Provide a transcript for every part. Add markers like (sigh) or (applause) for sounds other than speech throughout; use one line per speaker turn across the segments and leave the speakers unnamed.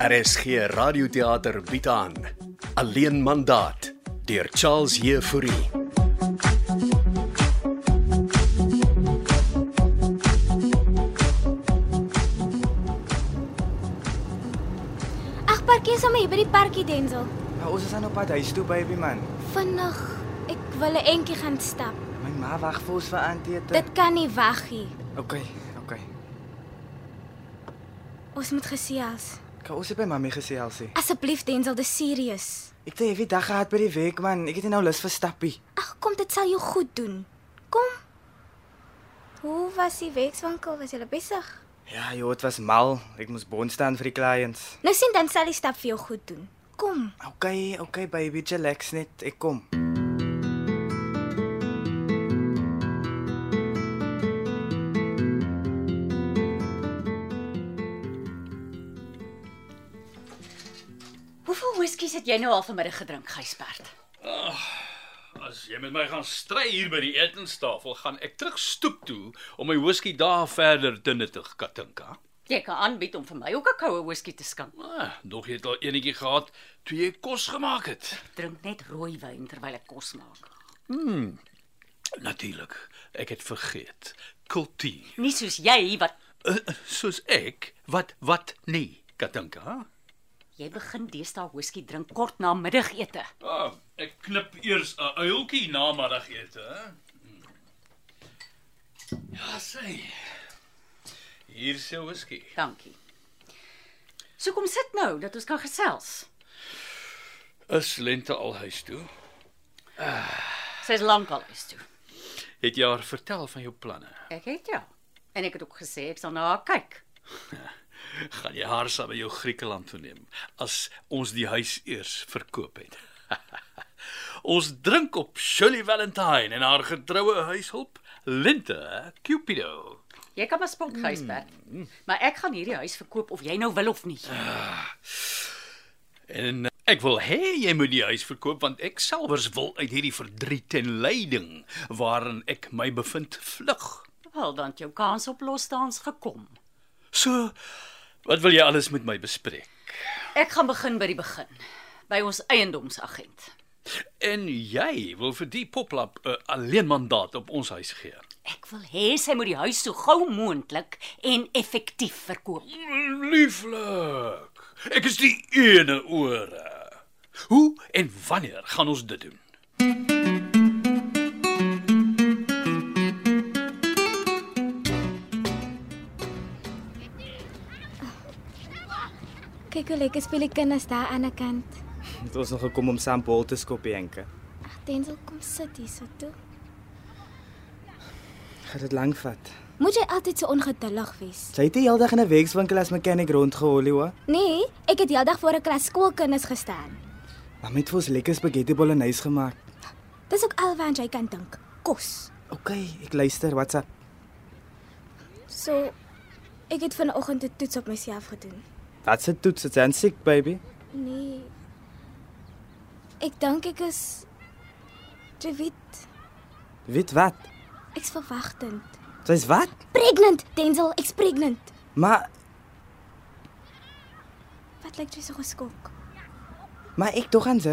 RSG Radioteater bied aan Alleen mandaat deur Charles Jefouri.
Ag, parkeer sommer hier by die parkie Denzel.
Nou, ons is aan op pad huis toe, baby man.
Vinnig, ek wil 'n entjie gaan stap.
My ma wag vir ons vir aandete.
Dit kan nie wag nie.
Okay, okay.
Ons moet gesels.
Kan ons het by mami gesê Elsie?
Asseblief Denzel, dis serieus.
Ek het 'n heavy dag gehad by die werk man. Ek het nie nou lus vir stappie.
Ag, kom dit sal jou goed doen. Kom. Hoe was die wekswinkel? Was jy besig?
Ja, joh, dit was mal. Ek moes bond staan vir die clients.
Nou sien dan sal die stap vir jou goed doen. Kom.
Okay, okay baby, relax net. Ek kom.
Hoeveel whiskies het jy nou al vanmiddag gedrink, Gysbert?
As jy met my gaan stry hier by die etenstafel, gaan ek terug stoep toe om my whisky daar verder te nuttig, Katinka.
Jy kan aanbied om vir my ook 'n koue whisky te skink.
Ah, nog jy het al enetjie gehad toe jy kos gemaak het.
Drink net rooi wyn terwyl ek kos maak.
Natuurlik. Ek het vergeet. Kultuur.
Nie soos jy wat
Uh, soos ek wat wat nie, Katinka.
jy begin deesdae whisky drink kort na middagete.
Ah, ek knip eers 'n uiltjie na middagete, hè. Ja, sê. Hier is jou whisky.
Dankie. So kom sit nou dat ons kan gesels.
Is lente al huis toe?
Sy's lankal is toe.
Het jy haar vertel van jou planne?
Ek het jou. En ek het ook gesê ek sal na haar kyk.
gaan jy haar saam met jou Griekeland toe neem as ons die huis eers verkoop het. (laughs) ons drink op Shirley Valentine en haar getroue huishulp Lente Cupido.
Jy kan maar spot Gysbert. Maar ek gaan hierdie huis verkoop of jy nou wil of nie.
En eh, ek wil hê jy moet die huis verkoop want ek selfers wil uit hierdie verdriet en lyding waarin ek my bevind vlug.
Wel dan het jou kans op losdans gekom.
So wat wil jy alles met my bespreek?
Ek gaan begin by die begin. By ons eiendomsagent.
En jy wil vir die poplap 'n alleen mandaat op ons huis gee.
Ek wil hê sy moet die huis so gou moontlik en effektief verkoop.
Lieflik. Ek is die ene ore. Hoe en wanneer gaan ons dit doen?
Kyk hoe lekker speel die kinders daar aan die kant.
Het ons nog gekom om saam bol te skop, Jenke.
Ag, Denzel, kom sit hier so toe.
Gaan dit lank vat.
Moet jy altyd so ongeduldig wees?
Sy het die hele dag in 'n werkswinkel as mechanic rondgehol, hoor.
Nee, ek het heeldag voor 'n klas skoolkinders gestaan.
Maar met vir ons lekker spaghetti bolognese gemaak.
Dis ook alwaar jy kan dink. Kos.
Okay, ek luister. What's up?
So ek het vanoggend 'n toets op myself gedoen.
Wat se toets? Is jy siek, baby?
Nee. Ek dink ek is jy weet,
Weet wat?
ek's verwagtend.
Sy's wat?
Pregnant, Denzel, ek's pregnant.
Maar
Wat lyk jy so geskok?
maar ek dog aan sy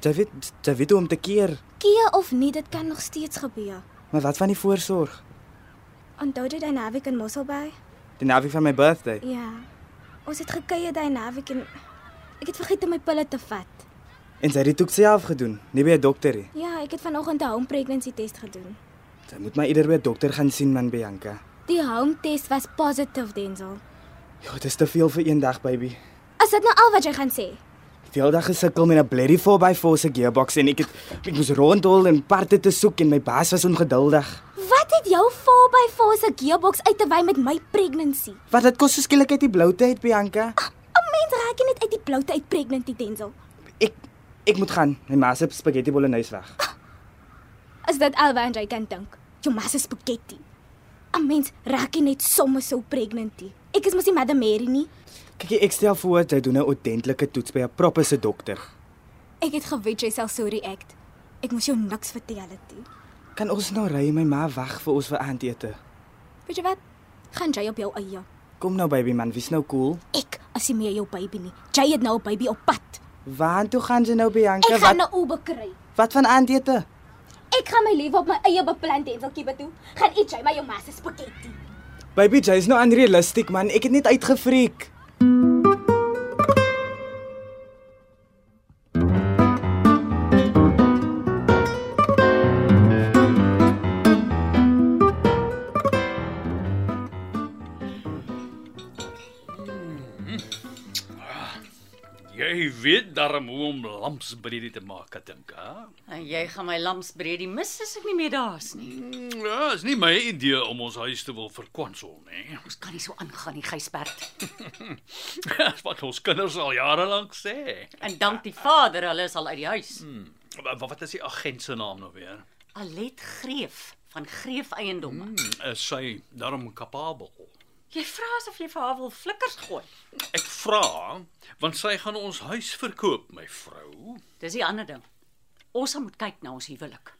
jy weet jy weet hoe om te keer.
Keer of nie, dit kan nog steeds gebeur.
Maar wat van die voorsorg?
Onthou jy daai naweek in Mosselbaai?
Die naweek van my birthday.
Ja. Ons het gekuier daai naweek en ek het vergeet om my pille te vat.
En sy het dit ook self gedoen, nie by 'n dokter nie.
Ja, ek het vanoggend 'n home pregnancy test gedoen.
Sy moet maar eerder by 'n dokter gaan sien man Bianca.
Die home test was positief, Denzel.
Ja, dit is te veel vir een dag baby.
Is dit nou al wat jy gaan sê?
Die hele dag gesukkel met 'n bloody 4x4 se gearbox en ek het ek moes rondhol en parte te soek en my baas was ongeduldig.
Wat het jou 4x4 se gearbox uit te wy met my pregnancy?
Wat dit kos so skielik uit die bloute uit Bianca?
'n Mens raak nie net uit die bloute uit pregnancy Denzel.
Ek ek moet gaan. My ma se spaghetti bolognese weg.
Is dit alwaar jy kan dink? Jou ma se spaghetti. 'n Mens raak nie net sommer so pregnancy. Ek is mos nie Mother Mary nie.
Kyk, ek stel voor jy doen 'n ordentlike toets by 'n proper se dokter.
Ek het geweet jy sal so react. Ek moes jou niks vertel het nie.
Kan ons nou ry? My ma wag vir ons vir aandete.
Weet jy wat? Gaan jy op jou eie.
Kom nou baby man, wie's nou cool?
Ek as jy meer jou baby nie. Jy het nou 'n baby op pad.
Waartoe gaan sy nou Bianca?
Ek gaan nou- 'n Uber kry.
wat van aandete?
Ek gaan my lewe op my eie beplan tendeltjie betoe. Gaan eet jy my jou ma se spaghetti.
Baby, jy's nou unrealisties man. Ek het net uitgefreek.
Jy weet darm hoe om lamsbredie te maak, Katinka.
En jy gaan my lamsbredie mis as ek nie meer daar's nie.
Ja, is nie my idee om ons huis te wil verkwansel nie.
Ons kan nie so aangaan nie, Gysbert.
(laughs) Dis wat ons kinders al jare lank sê.
En dank die Vader, hulle is al uit die huis.
Wa- wa- Wat is die agent se naam nou weer?
Alet Greef van Greef Eiendomme.
Is Eh, sy darm kapabel?
Jy vra asof jy vir haar wil flikkers gooi.
Ek vra, want sy gaan ons huis verkoop, my vrou,
Dis die ander ding. Ons moet kyk na ons huwelik.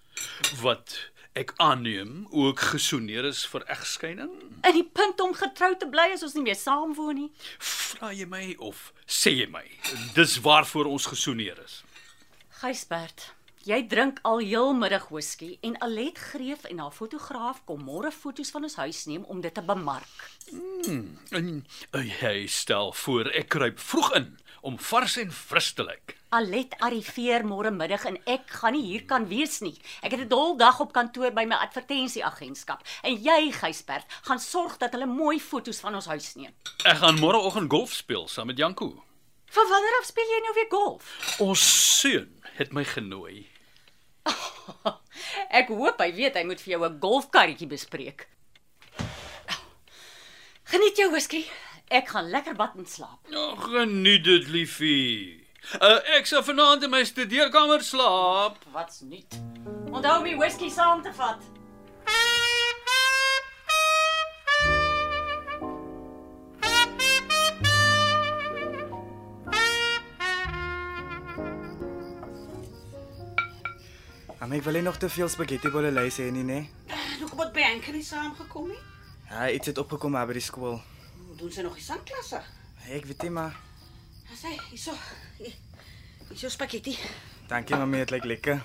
wat ek aanneem ook gesoneer is vir egskeiding.
In die punt om getrou te bly as ons nie meer saam woon nie.
Vra jy my of sê jy my? Dis waarvoor ons gesoneer is.
Gysbert, jy drink al heelmiddag whisky en Alet Greef en haar fotograaf kom môre foto's van ons huis neem om dit te bemark.
En eh, en hy stel voor ek kruip vroeg in om vars en fris te lyk.
Alet arriveer môre middag en ek gaan nie hier kan wees nie. Ek het 'n dol dag op kantoor by my advertensieagentskap en jy, Gysbert, gaan sorg dat hulle mooi foto's van ons huis neem.
Ek gaan môreoggend golf speel saam met Janko.
Van wanneer af speel jy nou weer golf? (laughs)
Ons seun het my genooi.
Ek hoop hy weet hy moet vir jou 'n golfkarretjie bespreek. Geniet jou whisky. Ek gaan lekker bad en slaap.
Ja, geniet dit, liefie. Uh, ek sal vanaand in my studeerkamer slaap.
Wat's nuut? Onthou om die whisky saam te vat.
Maar ek wil nie nog te veel spaghetti bolognese hê nie, né?
Hoekom het Bianca nie saamgekom nie?
Ja, iets het opgekom maar by die skool.
Doen sy nog die sangklasse?
Ek weet nie maar.
Dan sê hierso. hier- Hierso spaghetti.
Dankie mami, dit lyk lekker.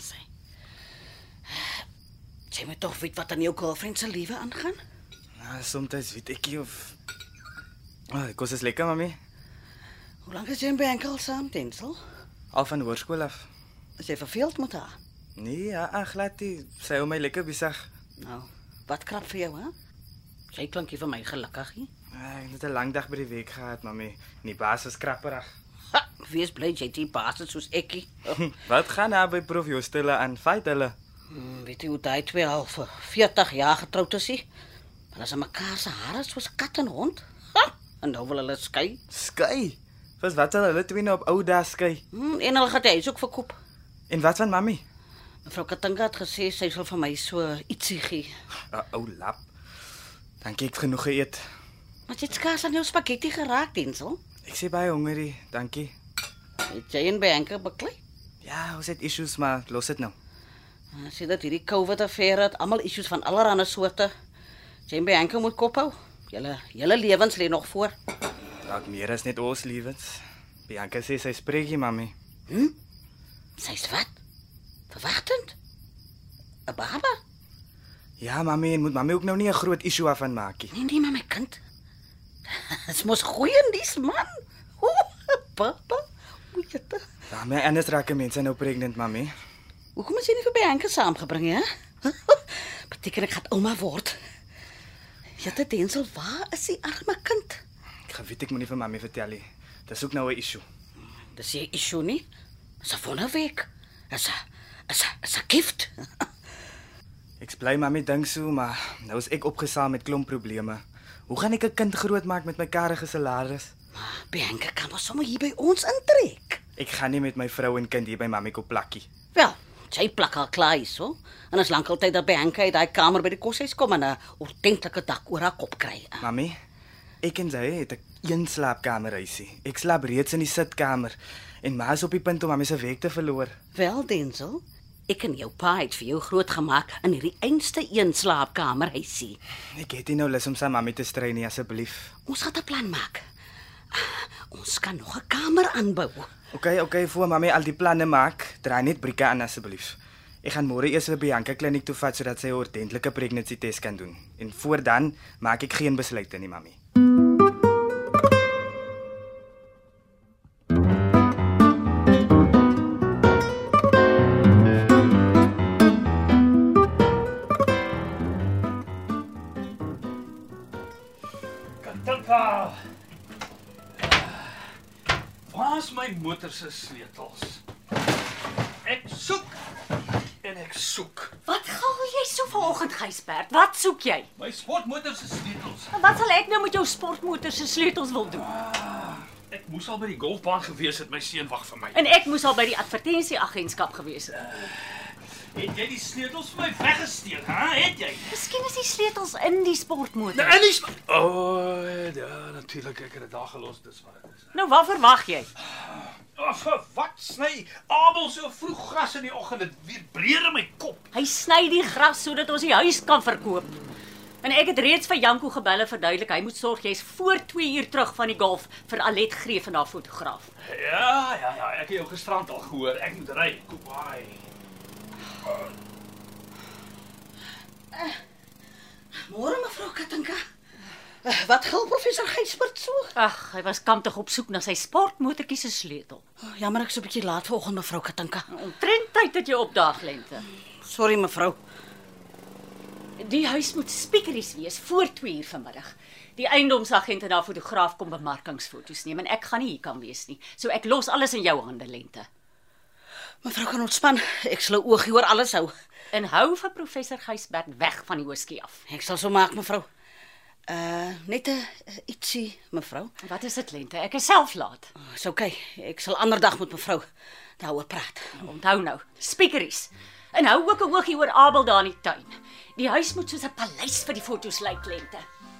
Jy moet tog weet wat aan jou girlfriend se lewe aangaan.
Nou, soms weet ek nie of Ah, kos is lekker mami.
Hoe lank is jy en Bianca al saam, Tensel?
Al van hoërskool af.
Is jy verveeld met haar?
Nee, ja, ah, glad nie. Sy hou my lekker besig.
Nou, wat krap vir jou, hè? Jy klink nie vir my gelukkig nie.
Ah, Ek het 'n lang dag by die week gehad, mami. Die baas was krapperig.
Ha, wees bly jy het nie baas is soos ekkie.
Wat gaan nou by prof Jostelle aan? Fight hulle.
Hmm, weet jy hoe daai twee al vir 40 jaar getroud is? nie? Hulle is aan mekaar se hare soos kat en hond. Ha, en nou wil hulle skei.
Skei. Vis wat sal hulle twee nou op ou dae skei?
Hmm, en hulle gaan die huis ook verkoop.
En wat van mami?
Mevrou Katinka het gesê sy sal vir my so ietsie gee.
'n Ou lap. Dankie ek het genoeg geëet.
Maar jy het skaars aan jou spaghetti geraak, Denzel.
Ek sê baie hongerie, dankie.
Het jy en Bianca beklei?
Ja, ons het issues maar los dit nou.
Ah, Sê dat hierdie COVID affære het almal issues van allerlei soorte. Jy en Bianca moet kop hou. Julle julle lewens lê nog voor.
Dalk meer is net ons lewens. Bianca sê sy spreek nie, mami.
Sy's wat? Verwagtend. 'n Baba?
Ja, mami, en moet mami ook nou nie 'n groot issue af van maak nie.
Nee nee, maar my kind. (laughs) Dit mos goeie nuus, man. (laughs) O, baba. Hoe jy dit?
Ja, my anders raak mense nou pregnant, mami.
Hoekom is jy nie vir Bianca saamgebring hè? (laughs) Beteken ek gaan ouma word. Jette Denzel, waar is die arme kind?
Ek geweet ek moenie vir mami vertel nie. Dis ook nou 'n issue.
Dis jy issue nie. Dis 'n wonderwerk. Is 'n is 'n is 'n gift. (laughs)
Ek bly mami dink so, maar nou is ek opgesaam met klomp probleme. Hoe gaan ek 'n kind grootmaak met my karrige salaris?
Maar Bianca kan mos sommer hier by ons intrek.
Ek gaan nie met my vrou en kind hier by mami kop plakkie.
Wel, jy plak haar klaar hierso. En as lank altyd dat Bianca uit daai kamer by die koshuis kom en 'n ordentlike dak oor haar kop kry.
Mami, ek en sy het 'n een slaapkamer huisie. Ek slaap reeds in die sitkamer en ma is op die punt om mami se werk te verloor.
Wel, Denzel, ek en jou pa het vir jou grootgemaak in hierdie einste een slaapkamer huisie.
Ek het nie nou lus om sy mami te strei nie asseblief.
Ons gaan 'n plan maak. Ah, Ons kan nog 'n kamer aanbou.
Okay, okay, voor mami al die planne maak, draai net Brika aan asseblief. Ek gaan môre eers vir Bianca kliniek toe vat sodat sy 'n ordentlike pregnancy test kan doen. En voor dan maak ek geen besluite nie, mami.
Katinka. Waar's my motor se sleutels? Ek soek en ek soek.
Wat gaal jy so vanoggend, Gysbert? Wat soek jy?
My sportmotor se sleutels.
En wat sal ek nou met jou sportmotor se sleutels wil doen?
Ek moes al by die golfbaan gewees het, my seun wag vir my.
En ek moes al by die advertensieagentskap gewees het.
Het jy die sleutels vir my weggesteek, hè? Het jy?
Miskien is die sleutels in die sportmotor.
Nou, Nee, En dis O, oh, ja, natuurlik ek het dit daar gelos, dis wat dit is.
Nou wat verwag jy?
Oh, vir wat sny Abel so vroeg gras in die oggend? Dit weer breër in my kop.
Hy sny die gras sodat ons die huis kan verkoop. En ek het reeds vir Janko gebel en verduidelik hy moet sorg jy's voor 2 uur terug van die golf vir Alet Greef en haar fotograaf.
Ja, ja, ja, ek het jou gisterand al gehoor. Ek moet ry. Kobai.
Môre mevrou Katinka. Eh, Wat gil professor Gysbert so?
Ag, hy was kamptig op soek na sy sportmotortjie se sleutel.
Oh, jammer ek's so 'n bietjie laat vanoggend mevrou Katinka.
Omtrent tyd het jy opdaag lente.
Sorry mevrou.
Die huis moet spiekeries wees voor 2 uur vanmiddag. Die eiendomsagent en haar fotograaf kom bemarkingsfoto's neem en ek gaan nie hier kan wees nie. So ek los alles in jou hande lente.
Mevrou kan ontspan. Ek sal 'n oogie oor alles hou.
En hou vir professor Gysbert weg van die hoeskie af.
Ek sal so maak mevrou. Uh net 'n uh, ietsie mevrou.
Wat is dit lente? Ek is self laat.
Dis oukei. Okay. Oh, Ek sal ander dag met mevrou daaroor praat.
Onthou nou, spiekeries. En hou ook 'n oogie oor Abel daar in die tuin. Die huis moet soos 'n paleis vir die foto's lyk lente.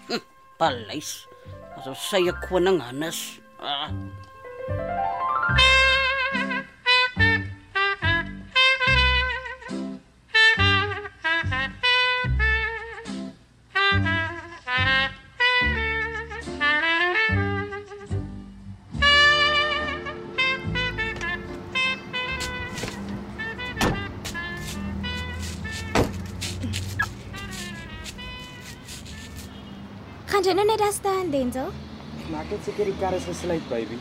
Hm, paleis. Asof sy 'n koning Hannes. Ah.
Gaan jy nou net daar staan, Denzel?
Ek maak net seker die kar is gesluit, baby.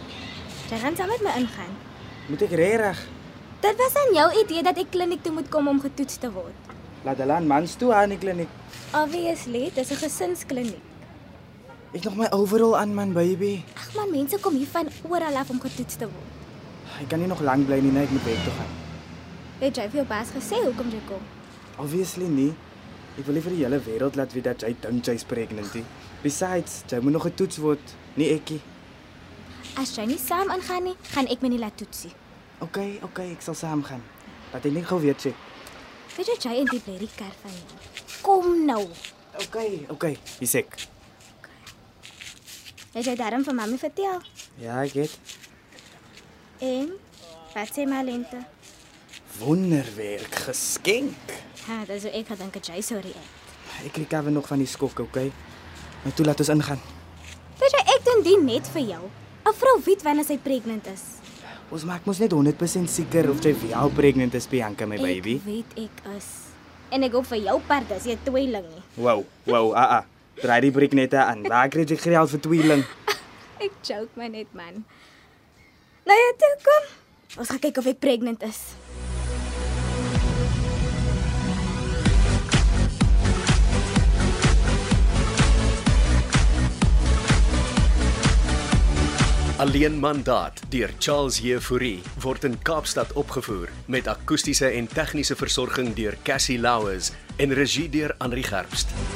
Jy gaan saam met my ingaan.
Moet ek regtig
Dit was aan jou idee dat ek kliniek toe moet kom om getoets te word.
laat hulle aan mans toe aan die kliniek?
Obviously, dis 'n gesinskliniek.
Ek nog my overall aan man, baby.
Ag man, mense kom hier van oral af om getoets te word.
Ek kan nie nog lank bly nie, nee, ek moet werk toe gaan.
Het jy vir jou baas gesê hoekom jy kom?
Obviously nie. Ek wil nie vir die hele wêreld laat weet dat jy dink jy's pregnant nie. Besides, jy moet nog getoets word, nie ekkie.
As jy nie saam ingaan nie, gaan ek my nie laat toetsie.
OK, OK, ek sal saam gaan. Laat ek net gou weet sê.
Weet jy jy en die Berry kar van jou. Kom nou.
OK, OK, dis ek.
Het jy daarom vir mami vertel?
Ja, ek het
En wat sê my lente?
wonderwerk geskenk.
Ha, dis hoe ek gedink het jy sou reageer.
Ek recover nog van die skok, OK? Nou toe laat ons ingaan.
Weet jy ek doen dit net vir jou. 'n Vrou weet wanneer sy pregnant is.
Ons maak mos net 100% seker of jy wel pregnant is, Bianca my baby.
Ek weet ek is. En ek hoop vir jou part as jy tweeling nie.
Wow, wow, a a. Draai die briek net aan. Waar kry jy geld vir tweeling?
Ek joke my net man. Nou ja, toe kom. Ons gaan kyk of ek pregnant is.
Alleen mandaat deur Charles Jefouri word in Kaapstad opgevoer met akoestiese en tegniese versorging deur Cassie Louws en regie deur Henri Gerst.